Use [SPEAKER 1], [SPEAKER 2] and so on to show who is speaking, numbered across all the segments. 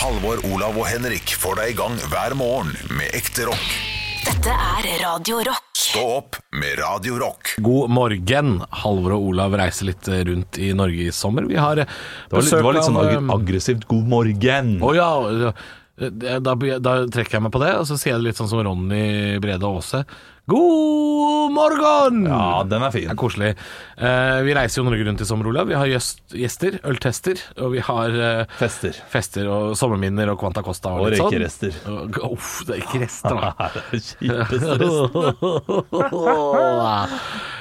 [SPEAKER 1] Halvor, Olav og Henrik får deg i gang hver morgen med ekte rock.
[SPEAKER 2] Dette er Radio Rock.
[SPEAKER 1] Stå opp med Radio Rock.
[SPEAKER 3] God morgen. Halvor og Olav reiser litt eh, rundt i Norge i sommer. Vi har eh,
[SPEAKER 4] Det var, litt- det var litt sånn
[SPEAKER 3] um,
[SPEAKER 4] ag- aggressivt 'god morgen'.
[SPEAKER 3] Å ja. Da, da trekker jeg meg på det, og så sier jeg det litt sånn som Ronny Brede Aase. God morgen!
[SPEAKER 4] Ja, den er
[SPEAKER 3] Det
[SPEAKER 4] fin.
[SPEAKER 3] er koselig. Eh, vi reiser jo Norge rundt i sommer, Olav. Vi har gjest, gjester, øltester, og vi har eh,
[SPEAKER 4] Fester.
[SPEAKER 3] fester og sommerminner og Quanta Costa.
[SPEAKER 4] Og
[SPEAKER 3] litt sånn.
[SPEAKER 4] røykerester.
[SPEAKER 3] Og- Uff, det er ikke rester, da.
[SPEAKER 4] Det er det kjipeste resten.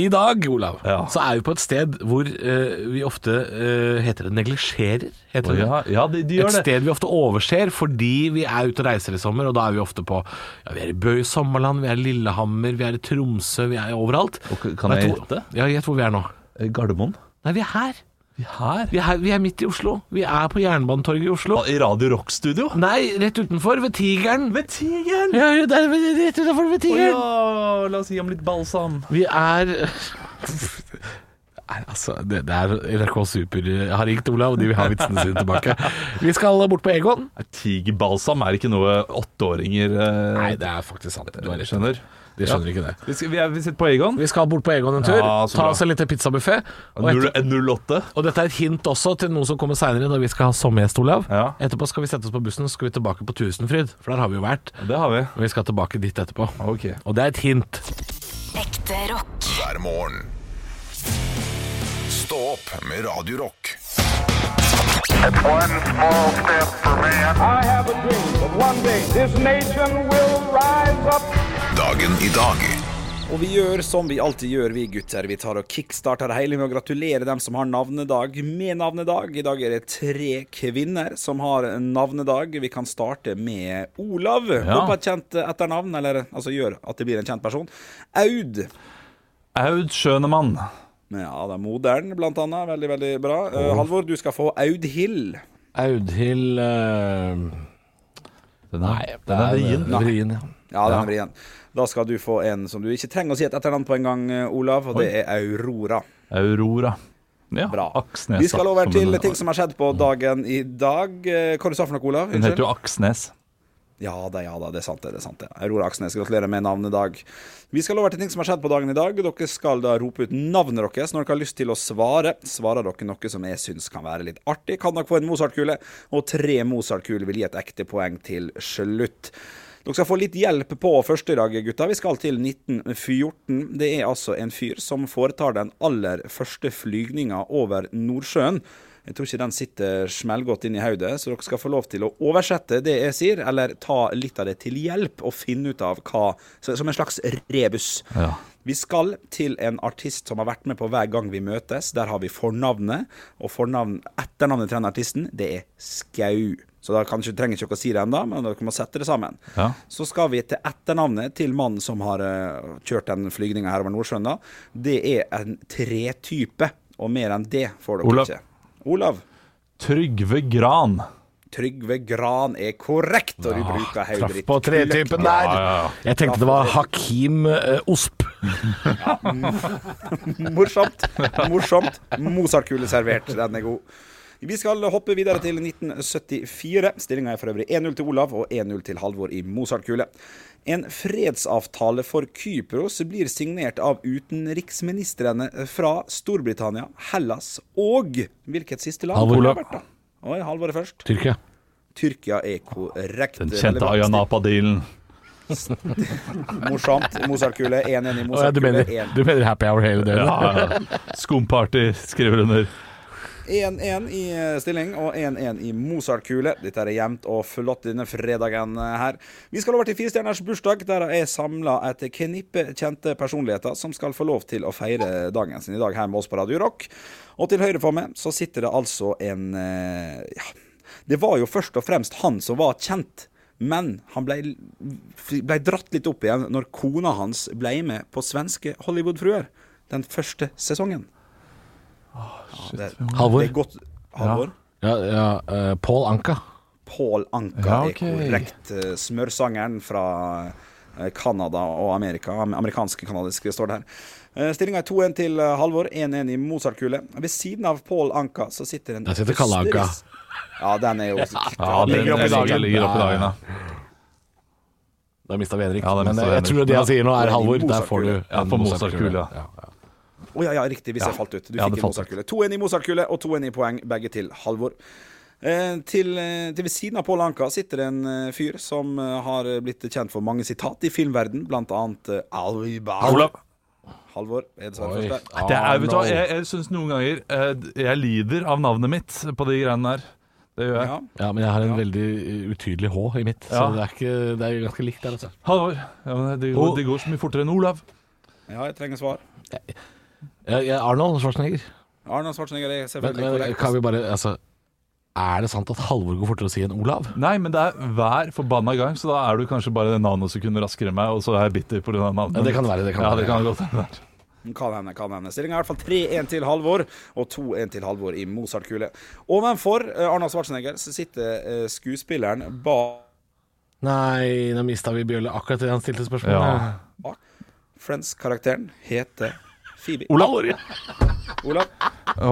[SPEAKER 3] I dag, Olav,
[SPEAKER 4] Ja.
[SPEAKER 3] så er vi på et sted hvor eh, vi ofte eh, Heter det neglisjerer? Heter
[SPEAKER 4] Å,
[SPEAKER 3] det?
[SPEAKER 4] Ja, ja de, de gjør
[SPEAKER 3] et
[SPEAKER 4] det.
[SPEAKER 3] sted vi ofte overser fordi vi er ute og reiser i sommer, og da er vi ofte på ja, Vi er i Bø i Sommerland, vi er i Lillehammer, vi er i Tromsø, vi er overalt.
[SPEAKER 4] Og k- kan
[SPEAKER 3] Vet
[SPEAKER 4] jeg
[SPEAKER 3] du hvor-
[SPEAKER 4] gjette?
[SPEAKER 3] Ja, gjett hvor vi er nå.
[SPEAKER 4] Gardermoen.
[SPEAKER 3] Nei, vi er her.
[SPEAKER 4] Her.
[SPEAKER 3] Vi er, her, vi er midt i Oslo. Vi er på Jernbanetorget i Oslo.
[SPEAKER 4] I Radio Rock-studio.
[SPEAKER 3] Nei, rett utenfor, ved Tigeren.
[SPEAKER 4] Ved tigeren!
[SPEAKER 3] Ja, det er rett utenfor ved
[SPEAKER 4] Å
[SPEAKER 3] Tigeren.
[SPEAKER 4] ja, la oss gi ham litt balsam.
[SPEAKER 3] Vi er Nei, Altså, det, det er NRK Super har ringt Olav, og de vil ha vitsene sine tilbake. Vi skal bort på Egon.
[SPEAKER 4] Er Tigerbalsam er ikke noe åtteåringer eh,
[SPEAKER 3] Nei, det er faktisk sant. Du har rett.
[SPEAKER 4] skjønner.
[SPEAKER 3] De skjønner ikke det.
[SPEAKER 4] Vi, skal, vi, er, vi sitter på Egon.
[SPEAKER 3] Vi skal bort på Egon en tur,
[SPEAKER 4] Ja, så
[SPEAKER 3] ta
[SPEAKER 4] bra.
[SPEAKER 3] oss en liten pizzabuffé. Og,
[SPEAKER 4] Null-
[SPEAKER 3] etter,
[SPEAKER 4] eh, 08.
[SPEAKER 3] og dette er et hint også til noe som kommer seinere, når vi skal ha sommergjest, Olav.
[SPEAKER 4] Ja.
[SPEAKER 3] Etterpå skal vi sette oss på bussen, så skal vi tilbake på Tusenfryd, for der har vi jo vært.
[SPEAKER 4] Det har vi.
[SPEAKER 3] Men vi skal tilbake dit etterpå.
[SPEAKER 4] Ok.
[SPEAKER 3] Og det er et hint.
[SPEAKER 2] Ekte rock.
[SPEAKER 1] Hver morgen. Stå opp med Radio Rock.
[SPEAKER 5] It's one small step for man.
[SPEAKER 6] I have a dream that one day this nation will rise up.
[SPEAKER 1] Dagen i dag.
[SPEAKER 7] Og vi gjør som vi alltid gjør, vi gutter. Vi tar og kickstarter det hele med å gratulere dem som har navnedag med navnedag. I dag er det tre kvinner som har navnedag. Vi kan starte med Olav. Gå på et kjent etternavn, eller altså gjør at det blir en kjent person. Aud.
[SPEAKER 4] Aud Schønemann.
[SPEAKER 7] Ja, det er modern, blant annet. Veldig, veldig bra. Eh, Halvor, du skal få Audhild.
[SPEAKER 3] Audhild
[SPEAKER 4] eh, Den er, den er vrien.
[SPEAKER 3] Vrien, ja.
[SPEAKER 7] Ja, den er vrien. Da skal du få en som du ikke trenger å si et etternavn på engang, eh, Olav, og det er Aurora.
[SPEAKER 4] Aurora. Ja,
[SPEAKER 7] Bra.
[SPEAKER 4] Aksnes.
[SPEAKER 7] Vi skal
[SPEAKER 4] da,
[SPEAKER 7] over
[SPEAKER 4] som
[SPEAKER 7] til
[SPEAKER 4] den- Mm.
[SPEAKER 7] ting som har skjedd på dagen i dag. Eh, Hva du sa du for noe, Olav?
[SPEAKER 4] Den heter jo Aksnes.
[SPEAKER 7] Ja da, ja da, det er sant det. det er sant det Aurora Aksnes, gratulerer med navnedag. Vi skal over til ting som har skjedd på dagen i dag. Dere skal da rope ut navnet deres når dere har lyst til å svare. Svarer dere noe som jeg syns kan være litt artig, kan dere få en Mozart-kule. Og tre Mozart-kuler vil gi et ekte poeng til slutt. Dere skal få litt hjelp på første i dag, gutta. Vi skal til 1914. Det er altså en fyr som foretar den aller første flygninga over Nordsjøen. Jeg tror ikke den sitter smellgodt inn i hodet, så dere skal få lov til å oversette det jeg sier, eller ta litt av det til hjelp og finne ut av hva så- Som en slags rebus.
[SPEAKER 4] Ja.
[SPEAKER 7] Vi skal til en artist som har vært med på Hver gang vi møtes. Der har vi fornavnet, og fornavn, etternavnet til den artisten, det er Skau. Så da kan, ikke- trenger ikke dere å si det ennå, men dere må sette det sammen.
[SPEAKER 4] Ja.
[SPEAKER 7] Så skal vi til etternavnet til mannen som har eh, kjørt den flygninga her over Nordsjøen. da. Det er en tretype, og mer enn det får dere
[SPEAKER 4] Olav.
[SPEAKER 7] ikke. Olav.
[SPEAKER 4] Trygve Gran.
[SPEAKER 7] Trygve Gran er korrekt, og du bruker
[SPEAKER 3] Ah, Traff
[SPEAKER 7] Haugritt.
[SPEAKER 3] på tretypen der. Jeg tenkte det var Hakim eh, Osp.
[SPEAKER 7] Morsomt. Morsomt. Mozartkule servert. Den er god. Vi skal hoppe videre til 1974. Stillinga er for øvrig 1-0 til Olav og 1-0 til Halvor i Mozartkule. En fredsavtale for Kypros blir signert av utenriksministrene fra Storbritannia, Hellas og hvilket siste land?
[SPEAKER 3] Halvor.
[SPEAKER 7] Olav. Oi, Halvor er først.
[SPEAKER 3] Tyrkia.
[SPEAKER 7] Tyrkia er korrekt.
[SPEAKER 4] Den kjente Ayanapa-dealen.
[SPEAKER 7] Morsomt. Mozartkule
[SPEAKER 3] Å,
[SPEAKER 7] 1-1 i
[SPEAKER 3] ja, du, mener,
[SPEAKER 7] Mozartkule 1.
[SPEAKER 3] du mener Happy Hour hele døgnet?
[SPEAKER 4] Ja, ja. Skumparty, skriver under.
[SPEAKER 7] 1-1 i eh, stilling og 1-1 i Mozart-kule. Dette er jevnt og flott denne fredagen eh, her. Vi skal over til firestjerners bursdag, der er samla et knippe kjente personligheter som skal få lov til å feire dagen sin i dag her med oss på Radio Rock. Og til høyre for meg så sitter det altså en eh, Ja, det var jo først og fremst han som var kjent. Men han ble, ble dratt litt opp igjen når kona hans ble med på svenske Hollywood-fruer den første sesongen. Ja, det,
[SPEAKER 3] Halvor.
[SPEAKER 7] det er godt Halvor.
[SPEAKER 3] Ja, ja, eh, Paul Anka.
[SPEAKER 7] Pål Anka
[SPEAKER 4] Ja, ok.
[SPEAKER 7] er korrekt. Eh, Smørsangeren fra eh, Canada og Amerika. am- Amerikansk-kanadisk står det her. Stillinga er 2-1 til eh, Halvor, 1-1 i Mozart-kule. Ved siden av Pål Anka så sitter en
[SPEAKER 3] Der sitter Kalle Anka.
[SPEAKER 7] østerriks- Ja, den er jo
[SPEAKER 8] Ja, den
[SPEAKER 7] ligger opp i dagen.
[SPEAKER 8] Ligger opp i dagen ja.
[SPEAKER 3] Da mista vi Henrik.
[SPEAKER 8] Ja, da
[SPEAKER 3] men eh,
[SPEAKER 8] mistet vi
[SPEAKER 3] jeg
[SPEAKER 8] Henrik.
[SPEAKER 3] tror det
[SPEAKER 8] Men
[SPEAKER 3] han sier nå,
[SPEAKER 7] det
[SPEAKER 3] er
[SPEAKER 7] er
[SPEAKER 3] Halvor.
[SPEAKER 7] din
[SPEAKER 3] Der får du
[SPEAKER 7] Mozart-kule.
[SPEAKER 8] Ja, på
[SPEAKER 3] en
[SPEAKER 8] Mozart-kule, ja.
[SPEAKER 7] Å ja, ja, riktig, hvis jeg falt ut. Du
[SPEAKER 8] Ja, det
[SPEAKER 7] fikk en
[SPEAKER 8] falt ut.
[SPEAKER 7] Mozart-kule. 2-1 i Mozart-kule og 2-1 i poeng, begge til Halvor. Eh, til, eh, til ved siden av Pål Anka sitter en eh, fyr som eh, har blitt kjent for mange sitat i filmverden, blant annet eh, Alvi Bar.
[SPEAKER 8] Olav.
[SPEAKER 7] Halvor
[SPEAKER 3] Oi.
[SPEAKER 7] er dessverre første.
[SPEAKER 8] Det er, vet du hva,
[SPEAKER 3] Arnold.
[SPEAKER 8] jeg, jeg syns noen ganger eh, Jeg lider av navnet mitt på de greiene der. Det gjør jeg.
[SPEAKER 7] Ja.
[SPEAKER 3] Ja, men jeg har en veldig utydelig H i mitt, så
[SPEAKER 8] Ja.
[SPEAKER 3] det er, ikke, det er ganske likt der, altså.
[SPEAKER 8] Halvor. Ja, men det, går,
[SPEAKER 3] Ho-
[SPEAKER 8] det går så mye fortere enn Olav.
[SPEAKER 7] ja, jeg trenger svar.
[SPEAKER 3] Jeg, jeg, Arnold Schwarzenegger.
[SPEAKER 7] Arnold Schwarzenegger er
[SPEAKER 3] Men,
[SPEAKER 7] selvfølgelig
[SPEAKER 3] men kan
[SPEAKER 7] korrekt.
[SPEAKER 3] vi bare Altså, er det sant at Halvor går fortere å si enn Olav?
[SPEAKER 8] Nei, men det er hver forbanna gang, så da er du kanskje bare nanosekunder raskere enn meg, og så er jeg bitter pga. navnet.
[SPEAKER 3] Ja, det kan være, det kan
[SPEAKER 8] ja,
[SPEAKER 3] være.
[SPEAKER 8] det kan godt være.
[SPEAKER 7] Kan hende, kan hende. Stillinga er i hvert fall 3-1 til Halvor, og 2-1 til Halvor i Mozart-kule. Ovenfor eh, Arnold Schwarzenegger så sitter eh, skuespilleren bak
[SPEAKER 3] Nei, nå mista vi Bjølle akkurat det han stilte spørsmål
[SPEAKER 8] Ja.
[SPEAKER 3] om.
[SPEAKER 7] Friends-karakteren, heter Phoebe.
[SPEAKER 3] Olav! Ja.
[SPEAKER 7] Olav.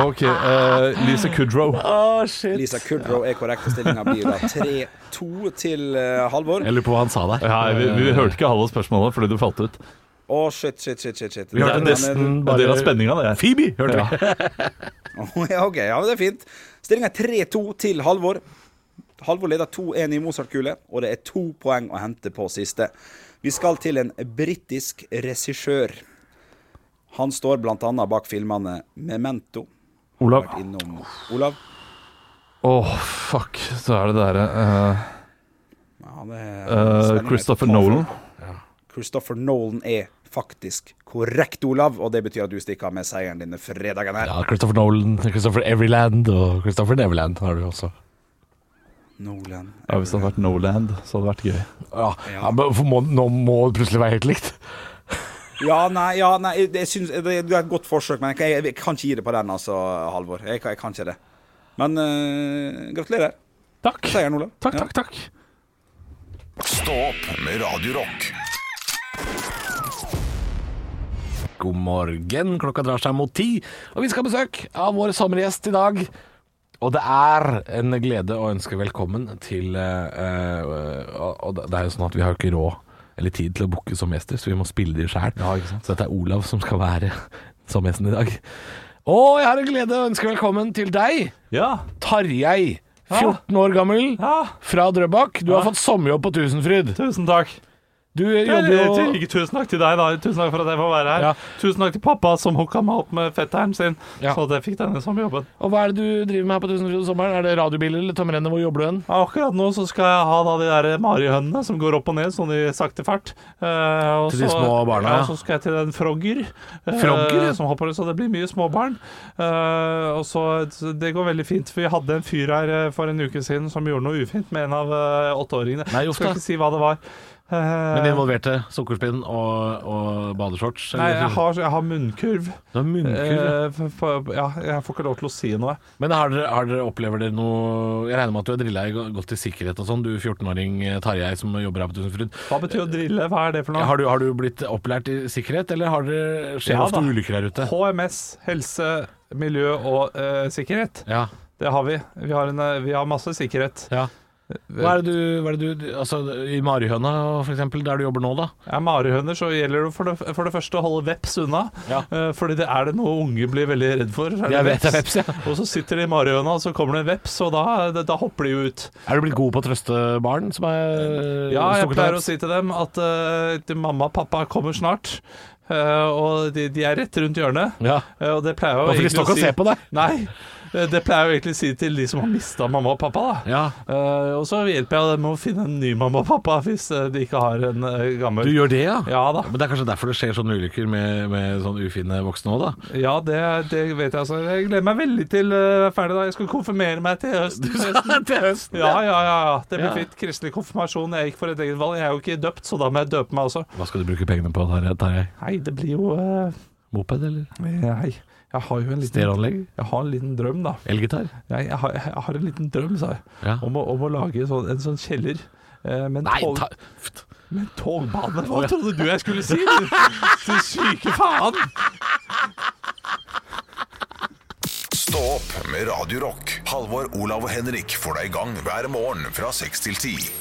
[SPEAKER 8] OK. eh, Lisa Kudrow.
[SPEAKER 3] Å, Ah, shit.
[SPEAKER 7] Lisa Kudrow er korrekt, og stillinga blir da 3-2 til eh, Halvor.
[SPEAKER 3] Jeg lurer på hva han sa der.
[SPEAKER 8] Ja, vi, vi hørte ikke halve spørsmålet fordi du falt ut.
[SPEAKER 7] Å, shit, shit, shit, shit, shit.
[SPEAKER 3] Vi hørte
[SPEAKER 8] Det er
[SPEAKER 3] nesten
[SPEAKER 8] En
[SPEAKER 3] bare
[SPEAKER 8] del av spenninga, det.
[SPEAKER 3] Phoebe, hørte vi.
[SPEAKER 8] Ja.
[SPEAKER 7] Å, ja, OK, ja, men det er fint. Stillinga er 3-2 til Halvor. Halvor leder 2-1 i Mozart-kule, og det er to poeng å hente på siste. Vi skal til en britisk regissør. Han står blant annet bak filmene Memento,
[SPEAKER 8] Olav.
[SPEAKER 7] vært innom Olav.
[SPEAKER 8] Åh, fuck. Så er det derre
[SPEAKER 7] Ja, det
[SPEAKER 8] eh,
[SPEAKER 7] er-
[SPEAKER 8] eh,
[SPEAKER 7] spenningen er
[SPEAKER 8] Christopher
[SPEAKER 7] total.
[SPEAKER 8] Nolan.
[SPEAKER 7] Christopher Nolan er faktisk korrekt, Olav, og det betyr at du stikker av med seieren denne fredagen her.
[SPEAKER 3] Ja, Christopher Nolan, Christopher Everyland og Christopher Neverland har du også.
[SPEAKER 7] Nolan.
[SPEAKER 8] Ja, Hvis det hadde vært Noland, så hadde det vært gøy.
[SPEAKER 3] Ja, men for må, Nå må det plutselig være helt likt.
[SPEAKER 7] Ja, nei, ja, nei jeg- jeg synes, det, det er et godt forsøk, men jeg, kan- jeg kan ikke gi det på den, altså, Halvor. Jeg, kan- jeg kan ikke det. Men øh, gratulerer.
[SPEAKER 8] Takk.
[SPEAKER 7] Seieren, Olav.
[SPEAKER 8] Takk,
[SPEAKER 7] Ja.
[SPEAKER 8] takk, takk.
[SPEAKER 1] Stå opp med Radio Rock.
[SPEAKER 3] God morgen, klokka drar seg mot ti, og vi skal ha besøk av vår sommergjest i dag. Og det er en glede å ønske velkommen til eh, eh, Og og det er jo sånn at vi har jo ikke råd eller tid til å booke som gjester, så vi må spille de sjæl. så dette er Olav som skal være som gjesten i dag. Og jeg har en glede å ønske velkommen til deg,
[SPEAKER 8] Ja.
[SPEAKER 3] Tarjei. 14 år gammel,
[SPEAKER 8] Ja.
[SPEAKER 3] fra Drøbak. Du har fått sommerjobb på Tusenfryd.
[SPEAKER 8] Tusen takk.
[SPEAKER 3] Du jobber
[SPEAKER 8] Eller, til-
[SPEAKER 3] jo
[SPEAKER 8] Ikke tusen takk til deg, da. Tusen takk for at jeg får være her.
[SPEAKER 3] Ja.
[SPEAKER 8] Tusen takk til pappa som hooka meg opp med fetteren sin,
[SPEAKER 3] Ja.
[SPEAKER 8] så at jeg fikk denne som jobben.
[SPEAKER 3] Og hva er det du driver med her på Tusenfryd om sommeren? Er det radiobiler eller tomrennet? Hvor jobber du hen?
[SPEAKER 8] Ja, Akkurat nå så skal jeg ha da de der marihønene som går opp og ned sånn i sakte fart. Eh, og
[SPEAKER 3] Til de
[SPEAKER 8] så-
[SPEAKER 3] små barna,
[SPEAKER 8] Ja,
[SPEAKER 3] ja.
[SPEAKER 8] så skal jeg til en frogger. eh,
[SPEAKER 3] Frogger, ja.
[SPEAKER 8] som hopper, så det blir mye småbarn. Eh, og så, så Det går veldig fint. for Vi hadde en fyr her eh, for en uke siden som gjorde noe ufint med en av eh, åtteåringene.
[SPEAKER 3] Nei, uff
[SPEAKER 8] skal
[SPEAKER 3] da.
[SPEAKER 8] ikke si hva det var. Eh,
[SPEAKER 3] Men det involverte sukkerspinn og, og badeshorts?
[SPEAKER 8] Nei, jeg har, jeg har munnkurv.
[SPEAKER 3] Det var munnkurv. ja.
[SPEAKER 8] Eh, f- f- ja, jeg får ikke lov til å si noe.
[SPEAKER 3] Men har dere, har dere, opplever dere noe Jeg regner med at du har drilla i gå- gått til sikkerhet og sånn, du 14-åring eh, Tarjei som jobber her på Tusenfryd.
[SPEAKER 8] Hva betyr å drille? Hva er det for noe?
[SPEAKER 3] Har du, har du blitt opplært i sikkerhet, eller har dere, skjer det
[SPEAKER 8] Ja,
[SPEAKER 3] ofte
[SPEAKER 8] da.
[SPEAKER 3] ulykker her ute?
[SPEAKER 8] HMS, helse, miljø og eh, sikkerhet.
[SPEAKER 3] Ja,
[SPEAKER 8] Det har vi. Vi har, en, eh, vi har masse sikkerhet.
[SPEAKER 3] ja. Hva er det du, hva er det du Altså, i Marihøna for eksempel, der du jobber nå, da?
[SPEAKER 8] Er marihøner, så gjelder det for det, for det første å holde veps unna.
[SPEAKER 3] Ja.
[SPEAKER 8] Eh, fordi det er det noe unge blir veldig redd for. så er
[SPEAKER 3] Jeg vet det er veps, ja.
[SPEAKER 8] Og så sitter de i marihøna, og så kommer det en veps, og da, da, da hopper de jo ut.
[SPEAKER 3] Er du blitt god på å trøste barn som er eh,
[SPEAKER 8] Ja, jeg pleier å si til dem at eh, til mamma og pappa kommer snart. eh, og de, de er rett rundt hjørnet.
[SPEAKER 3] Ja.
[SPEAKER 8] Eh, og det pleier jeg
[SPEAKER 3] Ja,
[SPEAKER 8] jo
[SPEAKER 3] for de
[SPEAKER 8] egentlig
[SPEAKER 3] står ikke
[SPEAKER 8] å
[SPEAKER 3] og
[SPEAKER 8] si
[SPEAKER 3] ser på deg.
[SPEAKER 8] Nei. eh, Det pleier jeg jo egentlig å si til de som har mista mamma og pappa. da
[SPEAKER 3] Ja.
[SPEAKER 8] Eh, og så hjelper jeg dem med å finne en ny mamma og pappa hvis eh, de ikke har en eh, gammel.
[SPEAKER 3] Du gjør det, ja?
[SPEAKER 8] Ja da.
[SPEAKER 3] Men det er kanskje derfor det skjer sånne ulykker med, med sånn ufine voksne òg, da?
[SPEAKER 8] Ja, det, det vet jeg altså. Jeg gleder meg veldig til eh, ferdig da. Jeg skal konfirmere meg til høsten.
[SPEAKER 3] til høsten.
[SPEAKER 8] Ja, ja, ja. ja. Det blir
[SPEAKER 3] Ja.
[SPEAKER 8] fint. Kristelig konfirmasjon. Jeg gikk for et eget valg. Jeg er jo ikke døpt, så da må jeg døpe meg også.
[SPEAKER 3] Hva skal du bruke pengene på, Tarjei? Tarjei?
[SPEAKER 8] Nei, det blir jo eh,
[SPEAKER 3] Moped eller
[SPEAKER 8] Nei. Jeg har jo en liten,
[SPEAKER 3] stereoanlegg?
[SPEAKER 8] jeg har en liten drøm, da.
[SPEAKER 3] Elgitar?
[SPEAKER 8] Nei, jeg, har, jeg har en liten drøm, sa jeg,
[SPEAKER 3] Ja.
[SPEAKER 8] om, å, om å lage sånn, en sånn kjeller eh, med en
[SPEAKER 3] Nei,
[SPEAKER 8] tog,
[SPEAKER 3] ta...
[SPEAKER 8] med en togbane. Hva trodde du jeg skulle si? Du, du syke faen!
[SPEAKER 1] Stå opp med Radio Rock. Halvor, Olav og Henrik får deg i gang hver morgen fra 6 til 10.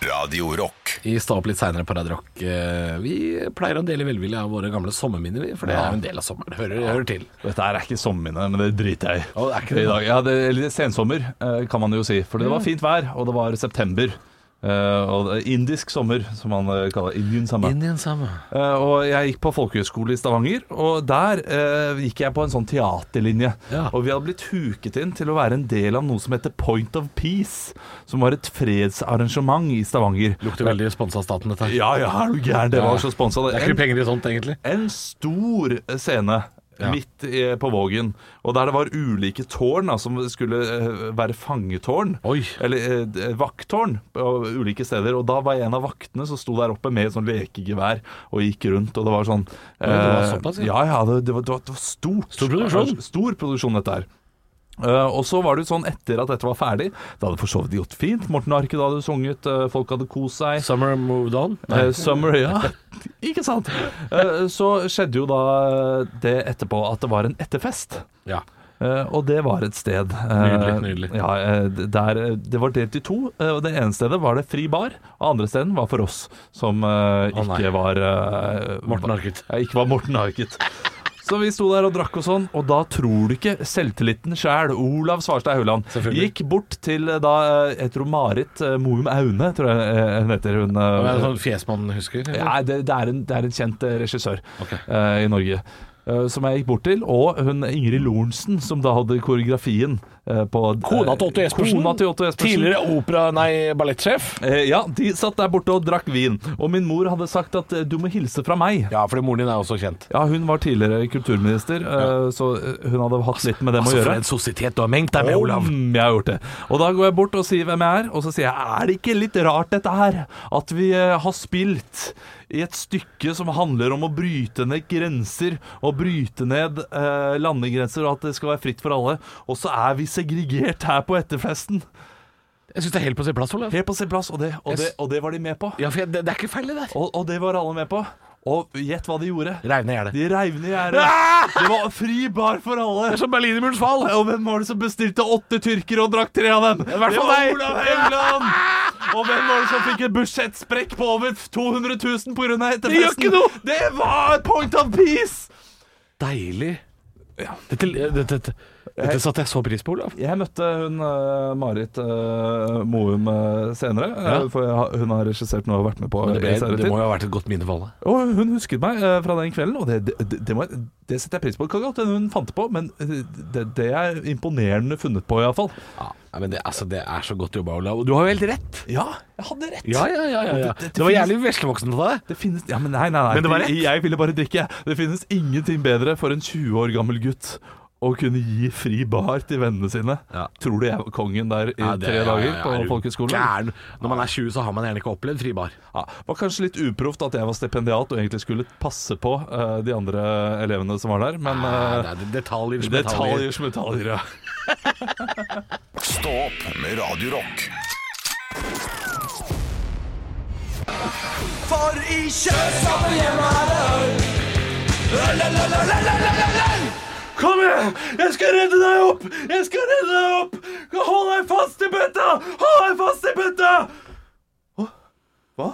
[SPEAKER 1] Radio Rock.
[SPEAKER 3] Vi står opp litt seinere på Radio Rock. Eh, Vi pleier å dele velvillig av våre gamle sommerminner, vi, for det er jo en del av sommeren. Hører, hører til.
[SPEAKER 8] Dette her er ikke sommerminne, men det driter jeg i.
[SPEAKER 3] Å, det er ikke det.
[SPEAKER 8] I dag. Ja, det, eller sensommer, eh, kan man jo si. For det var fint vær, og det var september. Eh, og det er indisk sommer, som man eh, kaller Indian summer.
[SPEAKER 3] Indian samme.
[SPEAKER 8] Eh, og jeg gikk på folkehøyskole i Stavanger, og der eh, gikk jeg på en sånn teaterlinje.
[SPEAKER 3] Ja.
[SPEAKER 8] Og vi hadde blitt huket inn til å være en del av noe som heter Point of Peace, som var et fredsarrangement i Stavanger.
[SPEAKER 3] Lukter veldig sponsa av staten, dette her.
[SPEAKER 8] Ja, ja, er du gæren? Det var så sponsa.
[SPEAKER 3] Det er ikke penger i sånt, egentlig.
[SPEAKER 8] en stor scene
[SPEAKER 3] Ja.
[SPEAKER 8] midt i, på Vågen, og der det var ulike tårn da, som skulle eh, være fangetårn.
[SPEAKER 3] Oi.
[SPEAKER 8] Eller eh, d- vakttårn på ulike steder. Og da var en av vaktene som sto der oppe med sånn lekegevær og gikk rundt, og det var sånn
[SPEAKER 3] det var
[SPEAKER 8] eh,
[SPEAKER 3] såpass, ja.
[SPEAKER 8] ja. ja, det, det, var, det var- det var stort.
[SPEAKER 3] Stor produksjon.
[SPEAKER 8] Stor produksjon, dette her. Eh, og så var det jo sånn etter at dette var ferdig Det hadde for så vidt gått fint. Morten Arket hadde sunget, eh, folk hadde kost seg.
[SPEAKER 3] Summer moved on.
[SPEAKER 8] Eh, Summer, ja. Ikke sant? Eh, Så skjedde jo da eh, det etterpå at det var en etterfest.
[SPEAKER 3] Ja.
[SPEAKER 8] Eh, Og det var et sted. eh,
[SPEAKER 3] Nydelig, nydelig.
[SPEAKER 8] Ja, eh, der, eh, det var delt i to. eh, Og det ene stedet var det fri bar, og andre stedet var for oss som
[SPEAKER 3] Å,
[SPEAKER 8] eh,
[SPEAKER 3] nei.
[SPEAKER 8] ikke var eh,
[SPEAKER 3] Morten Arket.
[SPEAKER 8] Ja, ikke var Morten Arket. Så vi sto der og drakk og sånn, og da tror du ikke selvtilliten sjæl, Olav Svarstad Hauland,
[SPEAKER 3] Selvfølgelig.
[SPEAKER 8] gikk bort til eh, da eh, Jeg tror Marit eh, Moum Aune, tror jeg eh, hun heter. Hun, eh,
[SPEAKER 3] Det er en sånn fjesmann husker. eller?
[SPEAKER 8] Nei, det, det, er en, det er en kjent eh, regissør
[SPEAKER 3] Ok.
[SPEAKER 8] eh, i Norge. eh, som jeg gikk bort til, og hun Ingrid Lorentzen, som da hadde koreografien eh, på
[SPEAKER 3] Kona til Otto Jespersen.
[SPEAKER 8] Kona til Otto Jespersen.
[SPEAKER 3] Tidligere opera- nei, ballettsjef.
[SPEAKER 8] Eh, ja, de satt der borte og drakk vin. Og min mor hadde sagt at eh, du må hilse fra meg.
[SPEAKER 3] Ja, fordi moren din er også kjent.
[SPEAKER 8] Ja, hun var tidligere kulturminister, eh, så eh, hun hadde hatt litt med dem
[SPEAKER 3] Altså,
[SPEAKER 8] å gjøre.
[SPEAKER 3] sosietet du har mengt deg
[SPEAKER 8] Om jeg har gjort det. Og da går jeg bort og sier hvem jeg er, og så sier jeg er det ikke litt rart dette her? At vi eh, har spilt i et stykke som handler om å bryte ned grenser og bryte ned eh, landegrenser, og at det skal være fritt for alle, og så er vi segregert her på etterfesten.
[SPEAKER 3] Jeg syns det er helt på sin plass, Olav.
[SPEAKER 8] Helt på sin plass, og det, og det, og det var de med på.
[SPEAKER 3] Ja, for jeg, det, det er ikke feil, det der.
[SPEAKER 8] Og, og det var alle med på. Og gjett hva de gjorde?
[SPEAKER 3] Reiv ned gjerdet.
[SPEAKER 8] De reiv ned gjerdet. Det var fri bar for alle.
[SPEAKER 3] Som Berlinermurens fall.
[SPEAKER 8] Og hvem var det som bestilte åtte tyrkere og drakk tre av dem? Det var
[SPEAKER 3] fall deg.
[SPEAKER 8] Olav Haugland! Og hvem var det som fikk et budsjettsprekk på over 200 000 pga. etterfesten?
[SPEAKER 3] Det gjør ikke noe!
[SPEAKER 8] Det var point of peace!
[SPEAKER 3] Deilig. Dette, dette, dette, dette satte jeg så pris på, Olav.
[SPEAKER 8] Jeg møtte hun eh, Marit eh, Moum eh, senere, eh,
[SPEAKER 3] Ja.
[SPEAKER 8] for jeg, har- hun har regissert noe og vært med på.
[SPEAKER 3] Men det,
[SPEAKER 8] i
[SPEAKER 3] ble,
[SPEAKER 8] senere
[SPEAKER 3] det
[SPEAKER 8] tid.
[SPEAKER 3] må jo ha vært et godt minne for alle.
[SPEAKER 8] Og hun husket meg eh, fra den kvelden, og det, det, det, det, må jeg, det setter jeg pris på. Det kan godt hende hun fant det på, men eh, det, det er imponerende funnet på, iallfall.
[SPEAKER 3] Ja, men det, altså, det er så godt jobba, Olav. Og du har jo helt rett.
[SPEAKER 8] Ja, jeg hadde rett.
[SPEAKER 3] ja, ja.
[SPEAKER 8] ja.
[SPEAKER 3] Det, var jævlig veslevoksen av deg.
[SPEAKER 8] Det finnes Ja, men nei, nei, nei.
[SPEAKER 3] Men det var rett.
[SPEAKER 8] Jeg ville bare drikke. Det finnes ingenting bedre for en 20 år gammel gutt å kunne gi fri bar til vennene sine.
[SPEAKER 3] Ja.
[SPEAKER 8] Tror du jeg var kongen der i
[SPEAKER 3] Ja, det-
[SPEAKER 8] tre
[SPEAKER 3] ja,
[SPEAKER 8] dager
[SPEAKER 3] ja, ja, er
[SPEAKER 8] på
[SPEAKER 3] du
[SPEAKER 8] folkehøyskolen?
[SPEAKER 3] Gæren. Når man er 20, så har man gjerne ikke opplevd fribar.
[SPEAKER 8] Ja, var kanskje litt uproft at jeg var stipendiat og egentlig skulle passe på eh, de andre elevene som var der, men
[SPEAKER 3] Nei,
[SPEAKER 8] eh,
[SPEAKER 3] Ah, det er detaljer som detaljer.
[SPEAKER 8] detaljer som detaljer, ja.
[SPEAKER 1] Stå opp med Radio Rock.
[SPEAKER 8] Kom igjen! Jeg skal redde deg opp! Jeg skal redde deg opp! Hold deg fast i bøtta! Hold deg fast i bøtta! Hå? Hva?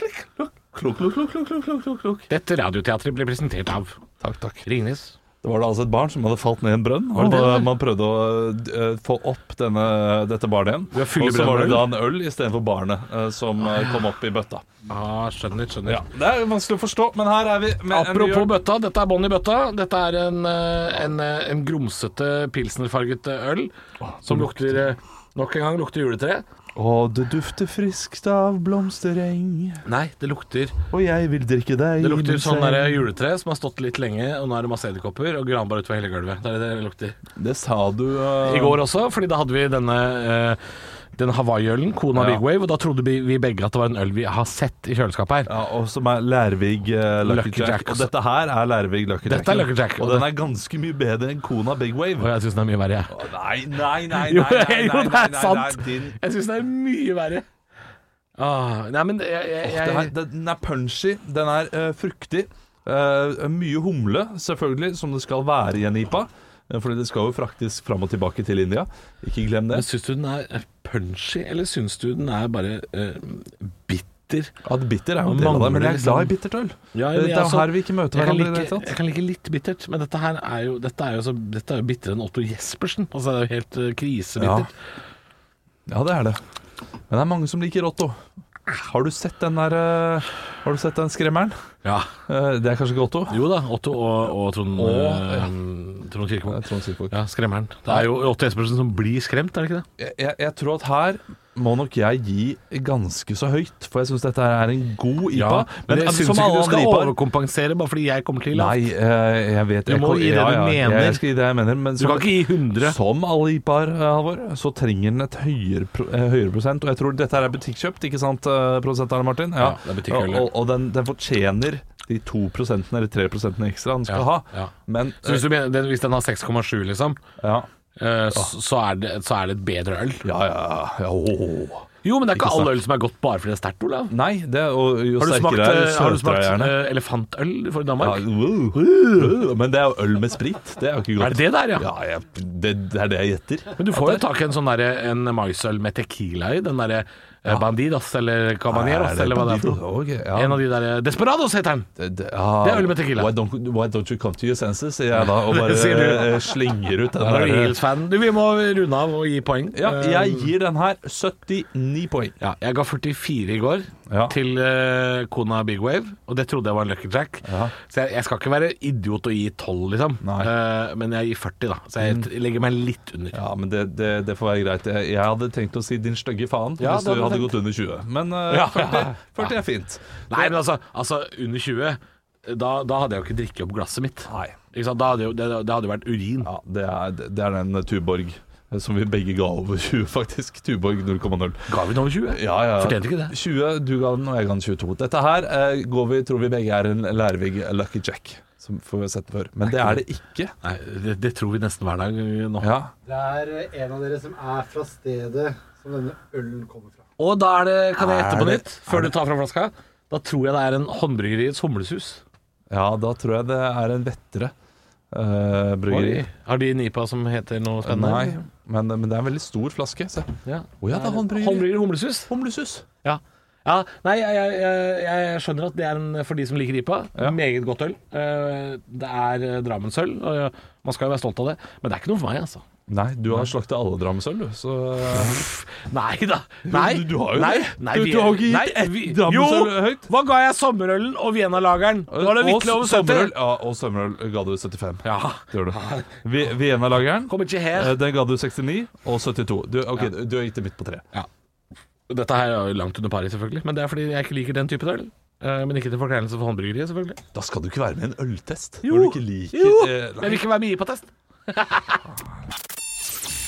[SPEAKER 8] Klikk, klokk, klokk, klokk, klokk, klokk, klokk, klokk, klokk, klokk.
[SPEAKER 3] Dette radioteatret ble presentert av
[SPEAKER 8] Takk, takk.
[SPEAKER 3] Ringnes.
[SPEAKER 8] Det var da altså et barn som hadde falt ned i en brønn, og
[SPEAKER 3] det det?
[SPEAKER 8] man prøvde å eh, få opp denne, dette barnet igjen.
[SPEAKER 3] Ja, fylle
[SPEAKER 8] og så var det
[SPEAKER 3] brønnen med
[SPEAKER 8] da en øl istedenfor barnet eh, som eh, kom opp i bøtta.
[SPEAKER 3] Ah, skjønner, skjønner.
[SPEAKER 8] Ja, Det er vanskelig å forstå, men her er vi. med en
[SPEAKER 3] Apropos
[SPEAKER 8] New York-
[SPEAKER 3] bøtta, dette er bånn i bøtta. Dette er en, eh, en, eh, en grumsete pilsnerfarget eh, øl som lukter eh, Nok en gang lukter juletre.
[SPEAKER 8] Å, det dufter friskt av blomstereng,
[SPEAKER 3] Nei, det lukter
[SPEAKER 8] og jeg vil drikke deg
[SPEAKER 3] Det lukter
[SPEAKER 8] mens
[SPEAKER 3] sånn
[SPEAKER 8] jeg-
[SPEAKER 3] der juletre som har stått litt lenge, og nå er det masse edderkopper og granbar utover hele gulvet. Det er det det lukter.
[SPEAKER 8] Det sa du eh,
[SPEAKER 3] I går også, fordi da hadde vi denne eh, den hawaiiølen, Kona
[SPEAKER 8] Ja.
[SPEAKER 3] Big Wave, og da trodde vi, vi begge at det var en øl vi har sett i kjøleskapet her.
[SPEAKER 8] Ja, og som er Lærvig eh, Lucky,
[SPEAKER 3] Lucky
[SPEAKER 8] Jack.
[SPEAKER 3] Jack,
[SPEAKER 8] Og
[SPEAKER 3] altså.
[SPEAKER 8] dette her er Lærvig Lucky Jack.
[SPEAKER 3] Dette er Lucky Jack,
[SPEAKER 8] Og
[SPEAKER 3] og
[SPEAKER 8] den
[SPEAKER 3] det-
[SPEAKER 8] er ganske mye bedre enn kona Big
[SPEAKER 3] Og
[SPEAKER 8] Wave.
[SPEAKER 3] jeg syns den er mye verre, jeg.
[SPEAKER 8] Nei, nei, nei,
[SPEAKER 3] Jo, jo, det er
[SPEAKER 8] nei,
[SPEAKER 3] sant!
[SPEAKER 8] din-
[SPEAKER 3] Jeg syns den er mye verre. Ah, nei, men jeg, jeg,
[SPEAKER 8] Det
[SPEAKER 3] jeg
[SPEAKER 8] her, den er punchy, den er eh, fruktig, Eh, mye humle, selvfølgelig, som det skal være i en IPA. eh, Fordi det skal jo fraktes fram og tilbake til India. Ikke glem
[SPEAKER 3] Men
[SPEAKER 8] det.
[SPEAKER 3] syns du den er punchy, eller syns du den er bare eh, bitter?
[SPEAKER 8] At bitter er jo
[SPEAKER 3] Man
[SPEAKER 8] en del av det, men
[SPEAKER 3] mangler
[SPEAKER 8] jeg er glad i
[SPEAKER 3] liksom-
[SPEAKER 8] bittert øl.
[SPEAKER 3] Ja,
[SPEAKER 8] det
[SPEAKER 3] men
[SPEAKER 8] er
[SPEAKER 3] jeg også-
[SPEAKER 8] her vi ikke møter
[SPEAKER 3] jeg kan
[SPEAKER 8] hverandre i det
[SPEAKER 3] like-
[SPEAKER 8] hele tatt.
[SPEAKER 3] Jeg kan like litt bittert, men dette her er jo Dette er jo, så, dette er jo bittere enn Otto Jespersen. Altså, det er jo helt eh, krisebittert.
[SPEAKER 8] Ja, det er det. Men det er mange som liker Otto. Har du sett den der eh, Har du sett den skremmeren?
[SPEAKER 3] Ja.
[SPEAKER 8] Eh, det er kanskje ikke Otto?
[SPEAKER 3] Jo da, Otto og, og Trond,
[SPEAKER 8] Og-
[SPEAKER 3] eh,
[SPEAKER 8] ja.
[SPEAKER 3] Trond
[SPEAKER 8] Det er
[SPEAKER 3] Kirkevåg.
[SPEAKER 8] Trond Silkvåg.
[SPEAKER 3] Ja, skremmeren. Det er jo Otto Jespersen som blir skremt, er det ikke det?
[SPEAKER 8] Jeg, jeg, jeg tror at her må nok jeg gi ganske så høyt, for jeg syns dette her er en god IPA.
[SPEAKER 3] men jeg
[SPEAKER 8] altså,
[SPEAKER 3] syns ikke du skal
[SPEAKER 8] IPA-er-
[SPEAKER 3] overkompensere bare fordi jeg kommer til. da.
[SPEAKER 8] Nei, eh, jeg vet
[SPEAKER 3] Du må
[SPEAKER 8] jeg,
[SPEAKER 3] gi det du mener.
[SPEAKER 8] Jeg skal gi det jeg mener. Men
[SPEAKER 3] Du kan ikke gi 100.
[SPEAKER 8] Som alle IPA-er, eh, Halvor, så trenger den et høyere, pro- eh, høyere prosent. Og jeg tror dette her er butikkjøpt, ikke sant, eh, produsent Arne Martin?
[SPEAKER 3] Ja, det er butikkøl,
[SPEAKER 8] og,
[SPEAKER 3] ja.
[SPEAKER 8] og, og den, den fortjener de 2 prosentene eller 3 prosentene ekstra den skal
[SPEAKER 3] Ja,
[SPEAKER 8] ha.
[SPEAKER 3] ja.
[SPEAKER 8] Men
[SPEAKER 3] Så hvis, du mener, den, hvis den har 6,7, liksom,
[SPEAKER 8] eh, ja.
[SPEAKER 3] eh, så, så, er det, så er det et bedre øl.
[SPEAKER 8] Ja, ja, ja. åh.
[SPEAKER 3] Jo, men det er ikke,
[SPEAKER 8] Ikke
[SPEAKER 3] all
[SPEAKER 8] sant.
[SPEAKER 3] øl som er godt bare fordi det er sterkt, Olav.
[SPEAKER 8] Nei, det, og jo
[SPEAKER 3] Har du smakt,
[SPEAKER 8] sterkere er,
[SPEAKER 3] eh, har du
[SPEAKER 8] jo søtere
[SPEAKER 3] smakt
[SPEAKER 8] er gjerne.
[SPEAKER 3] eh, elefantøl for
[SPEAKER 8] Ja,
[SPEAKER 3] Danmark?
[SPEAKER 8] wow, wow. Men det er jo øl med sprit. Det er jo ikke godt.
[SPEAKER 3] Er det det der, ja?
[SPEAKER 8] Ja, jeg, det, det er det jeg gjetter.
[SPEAKER 3] Men du får jo tak i en sånn derre en maisøl med tequila i. Den derre eh, Bandidas eller Cabaneros eller hva det er for noe.
[SPEAKER 8] Ok, ja.
[SPEAKER 3] En av de derre Desperados heter den!
[SPEAKER 8] det, det- ja.
[SPEAKER 3] Det er øl med tequila.
[SPEAKER 8] Why don't, why don't you come to your senses, sier jeg da, og bare
[SPEAKER 3] Det sier du.
[SPEAKER 8] eh, slenger ut den
[SPEAKER 3] Der er du
[SPEAKER 8] der.
[SPEAKER 3] Eagles-fan. Du, vi må runde av og gi poeng.
[SPEAKER 8] Ja, jeg
[SPEAKER 3] Eh,
[SPEAKER 8] gir den her 79 poeng.
[SPEAKER 3] ja, jeg ga 44 i går
[SPEAKER 8] Ja.
[SPEAKER 3] til eh, kona Big Wave, og det trodde jeg var en Lucky Jack.
[SPEAKER 8] Ja.
[SPEAKER 3] Så jeg, jeg skal ikke være idiot og gi 12, liksom.
[SPEAKER 8] Nei.
[SPEAKER 3] Eh, men jeg gir 40, da. Så jeg t- legger meg litt under.
[SPEAKER 8] Ja, men det, det, det får være greit. Jeg, jeg hadde tenkt å si 'din stygge faen'
[SPEAKER 3] Ja,
[SPEAKER 8] hvis
[SPEAKER 3] det
[SPEAKER 8] du
[SPEAKER 3] hadde
[SPEAKER 8] hadde
[SPEAKER 3] tenkt.
[SPEAKER 8] gått under 20. Men eh,
[SPEAKER 3] Ja.
[SPEAKER 8] 40, 40 er fint.
[SPEAKER 3] Nei, men altså, altså under 20 da, da hadde jeg jo ikke drikket opp glasset mitt.
[SPEAKER 8] Nei.
[SPEAKER 3] Ikke sant? Da hadde jo, det, det hadde jo vært urin.
[SPEAKER 8] Ja, det er, det er den Tuborg eh, som vi begge ga over 20, faktisk. Tuborg 0,0.
[SPEAKER 3] Ga vi den over 20?
[SPEAKER 8] Ja, ja.
[SPEAKER 3] Fortjente ikke det.
[SPEAKER 8] 20, du ga den, og jeg ga den 22. Dette her eh, går vi, tror vi begge er en Lærvig Lucky Jack, som får vi har sett den før. Men det er det ikke.
[SPEAKER 3] Nei, det, det tror vi nesten hver dag eh, nå.
[SPEAKER 8] Ja.
[SPEAKER 9] Det er eh, en av dere som er fra stedet som denne ølen kommer fra.
[SPEAKER 3] Og da er det, kan jeg gjette
[SPEAKER 8] Er
[SPEAKER 3] på
[SPEAKER 8] det-
[SPEAKER 3] nytt, før du tar fra flaska. Da tror jeg det er en Håndbryggeriets humlesus.
[SPEAKER 8] ja, da tror jeg det er en Vettere eh, bryggeri.
[SPEAKER 3] Har de en IPA som heter noe spennende?
[SPEAKER 8] Nei, men, men det er en veldig stor flaske. Se. Å
[SPEAKER 3] Ja.
[SPEAKER 8] ja, det er håndbryggeri.
[SPEAKER 3] Håndbrygger humlesus?
[SPEAKER 8] Humlesus.
[SPEAKER 3] Ja. ja. Nei, jeg, jeg, jeg- jeg skjønner at det er en, for de som liker IPA,
[SPEAKER 8] Ja.
[SPEAKER 3] meget godt øl. Eh, Det er eh, Drammensøl, og eh, man skal jo være stolt av det. Men det er ikke noe for meg, altså.
[SPEAKER 8] Nei, du har slakta alle Drammensøl, du. Så
[SPEAKER 3] Nei da. Nei.
[SPEAKER 8] du- du har jo
[SPEAKER 3] nei,
[SPEAKER 8] det.
[SPEAKER 3] Nei,
[SPEAKER 8] Du-
[SPEAKER 3] vi-
[SPEAKER 8] du har ikke gitt
[SPEAKER 3] nei,
[SPEAKER 8] ett
[SPEAKER 3] vi-
[SPEAKER 8] Drammensøl
[SPEAKER 3] Jo!
[SPEAKER 8] høyt.
[SPEAKER 3] Hva ga jeg sommerølen og Vienalageren? Da var det
[SPEAKER 8] eh, Og
[SPEAKER 3] virkelig over 70.
[SPEAKER 8] sommerøl- Ja, og sommerøl ga du 75.
[SPEAKER 3] Ja.
[SPEAKER 8] Det gjør du. Vi- Vienna-lageren,
[SPEAKER 3] Kom ikke
[SPEAKER 8] eh,
[SPEAKER 3] her.
[SPEAKER 8] den ga du 69, og 72. Du, ok, du, du har gitt det midt på tre.
[SPEAKER 3] Eh, Dette her er jo langt under pari, selvfølgelig. Men det er fordi jeg ikke liker den typen øl. Eh, Men ikke til forkleinelse for håndbryggeriet, selvfølgelig.
[SPEAKER 8] Da skal du ikke være med i en øltest.
[SPEAKER 3] Jo.
[SPEAKER 8] Når du ikke liker
[SPEAKER 3] Jo.
[SPEAKER 8] eh,
[SPEAKER 3] Jeg vil ikke være med i IPA-test.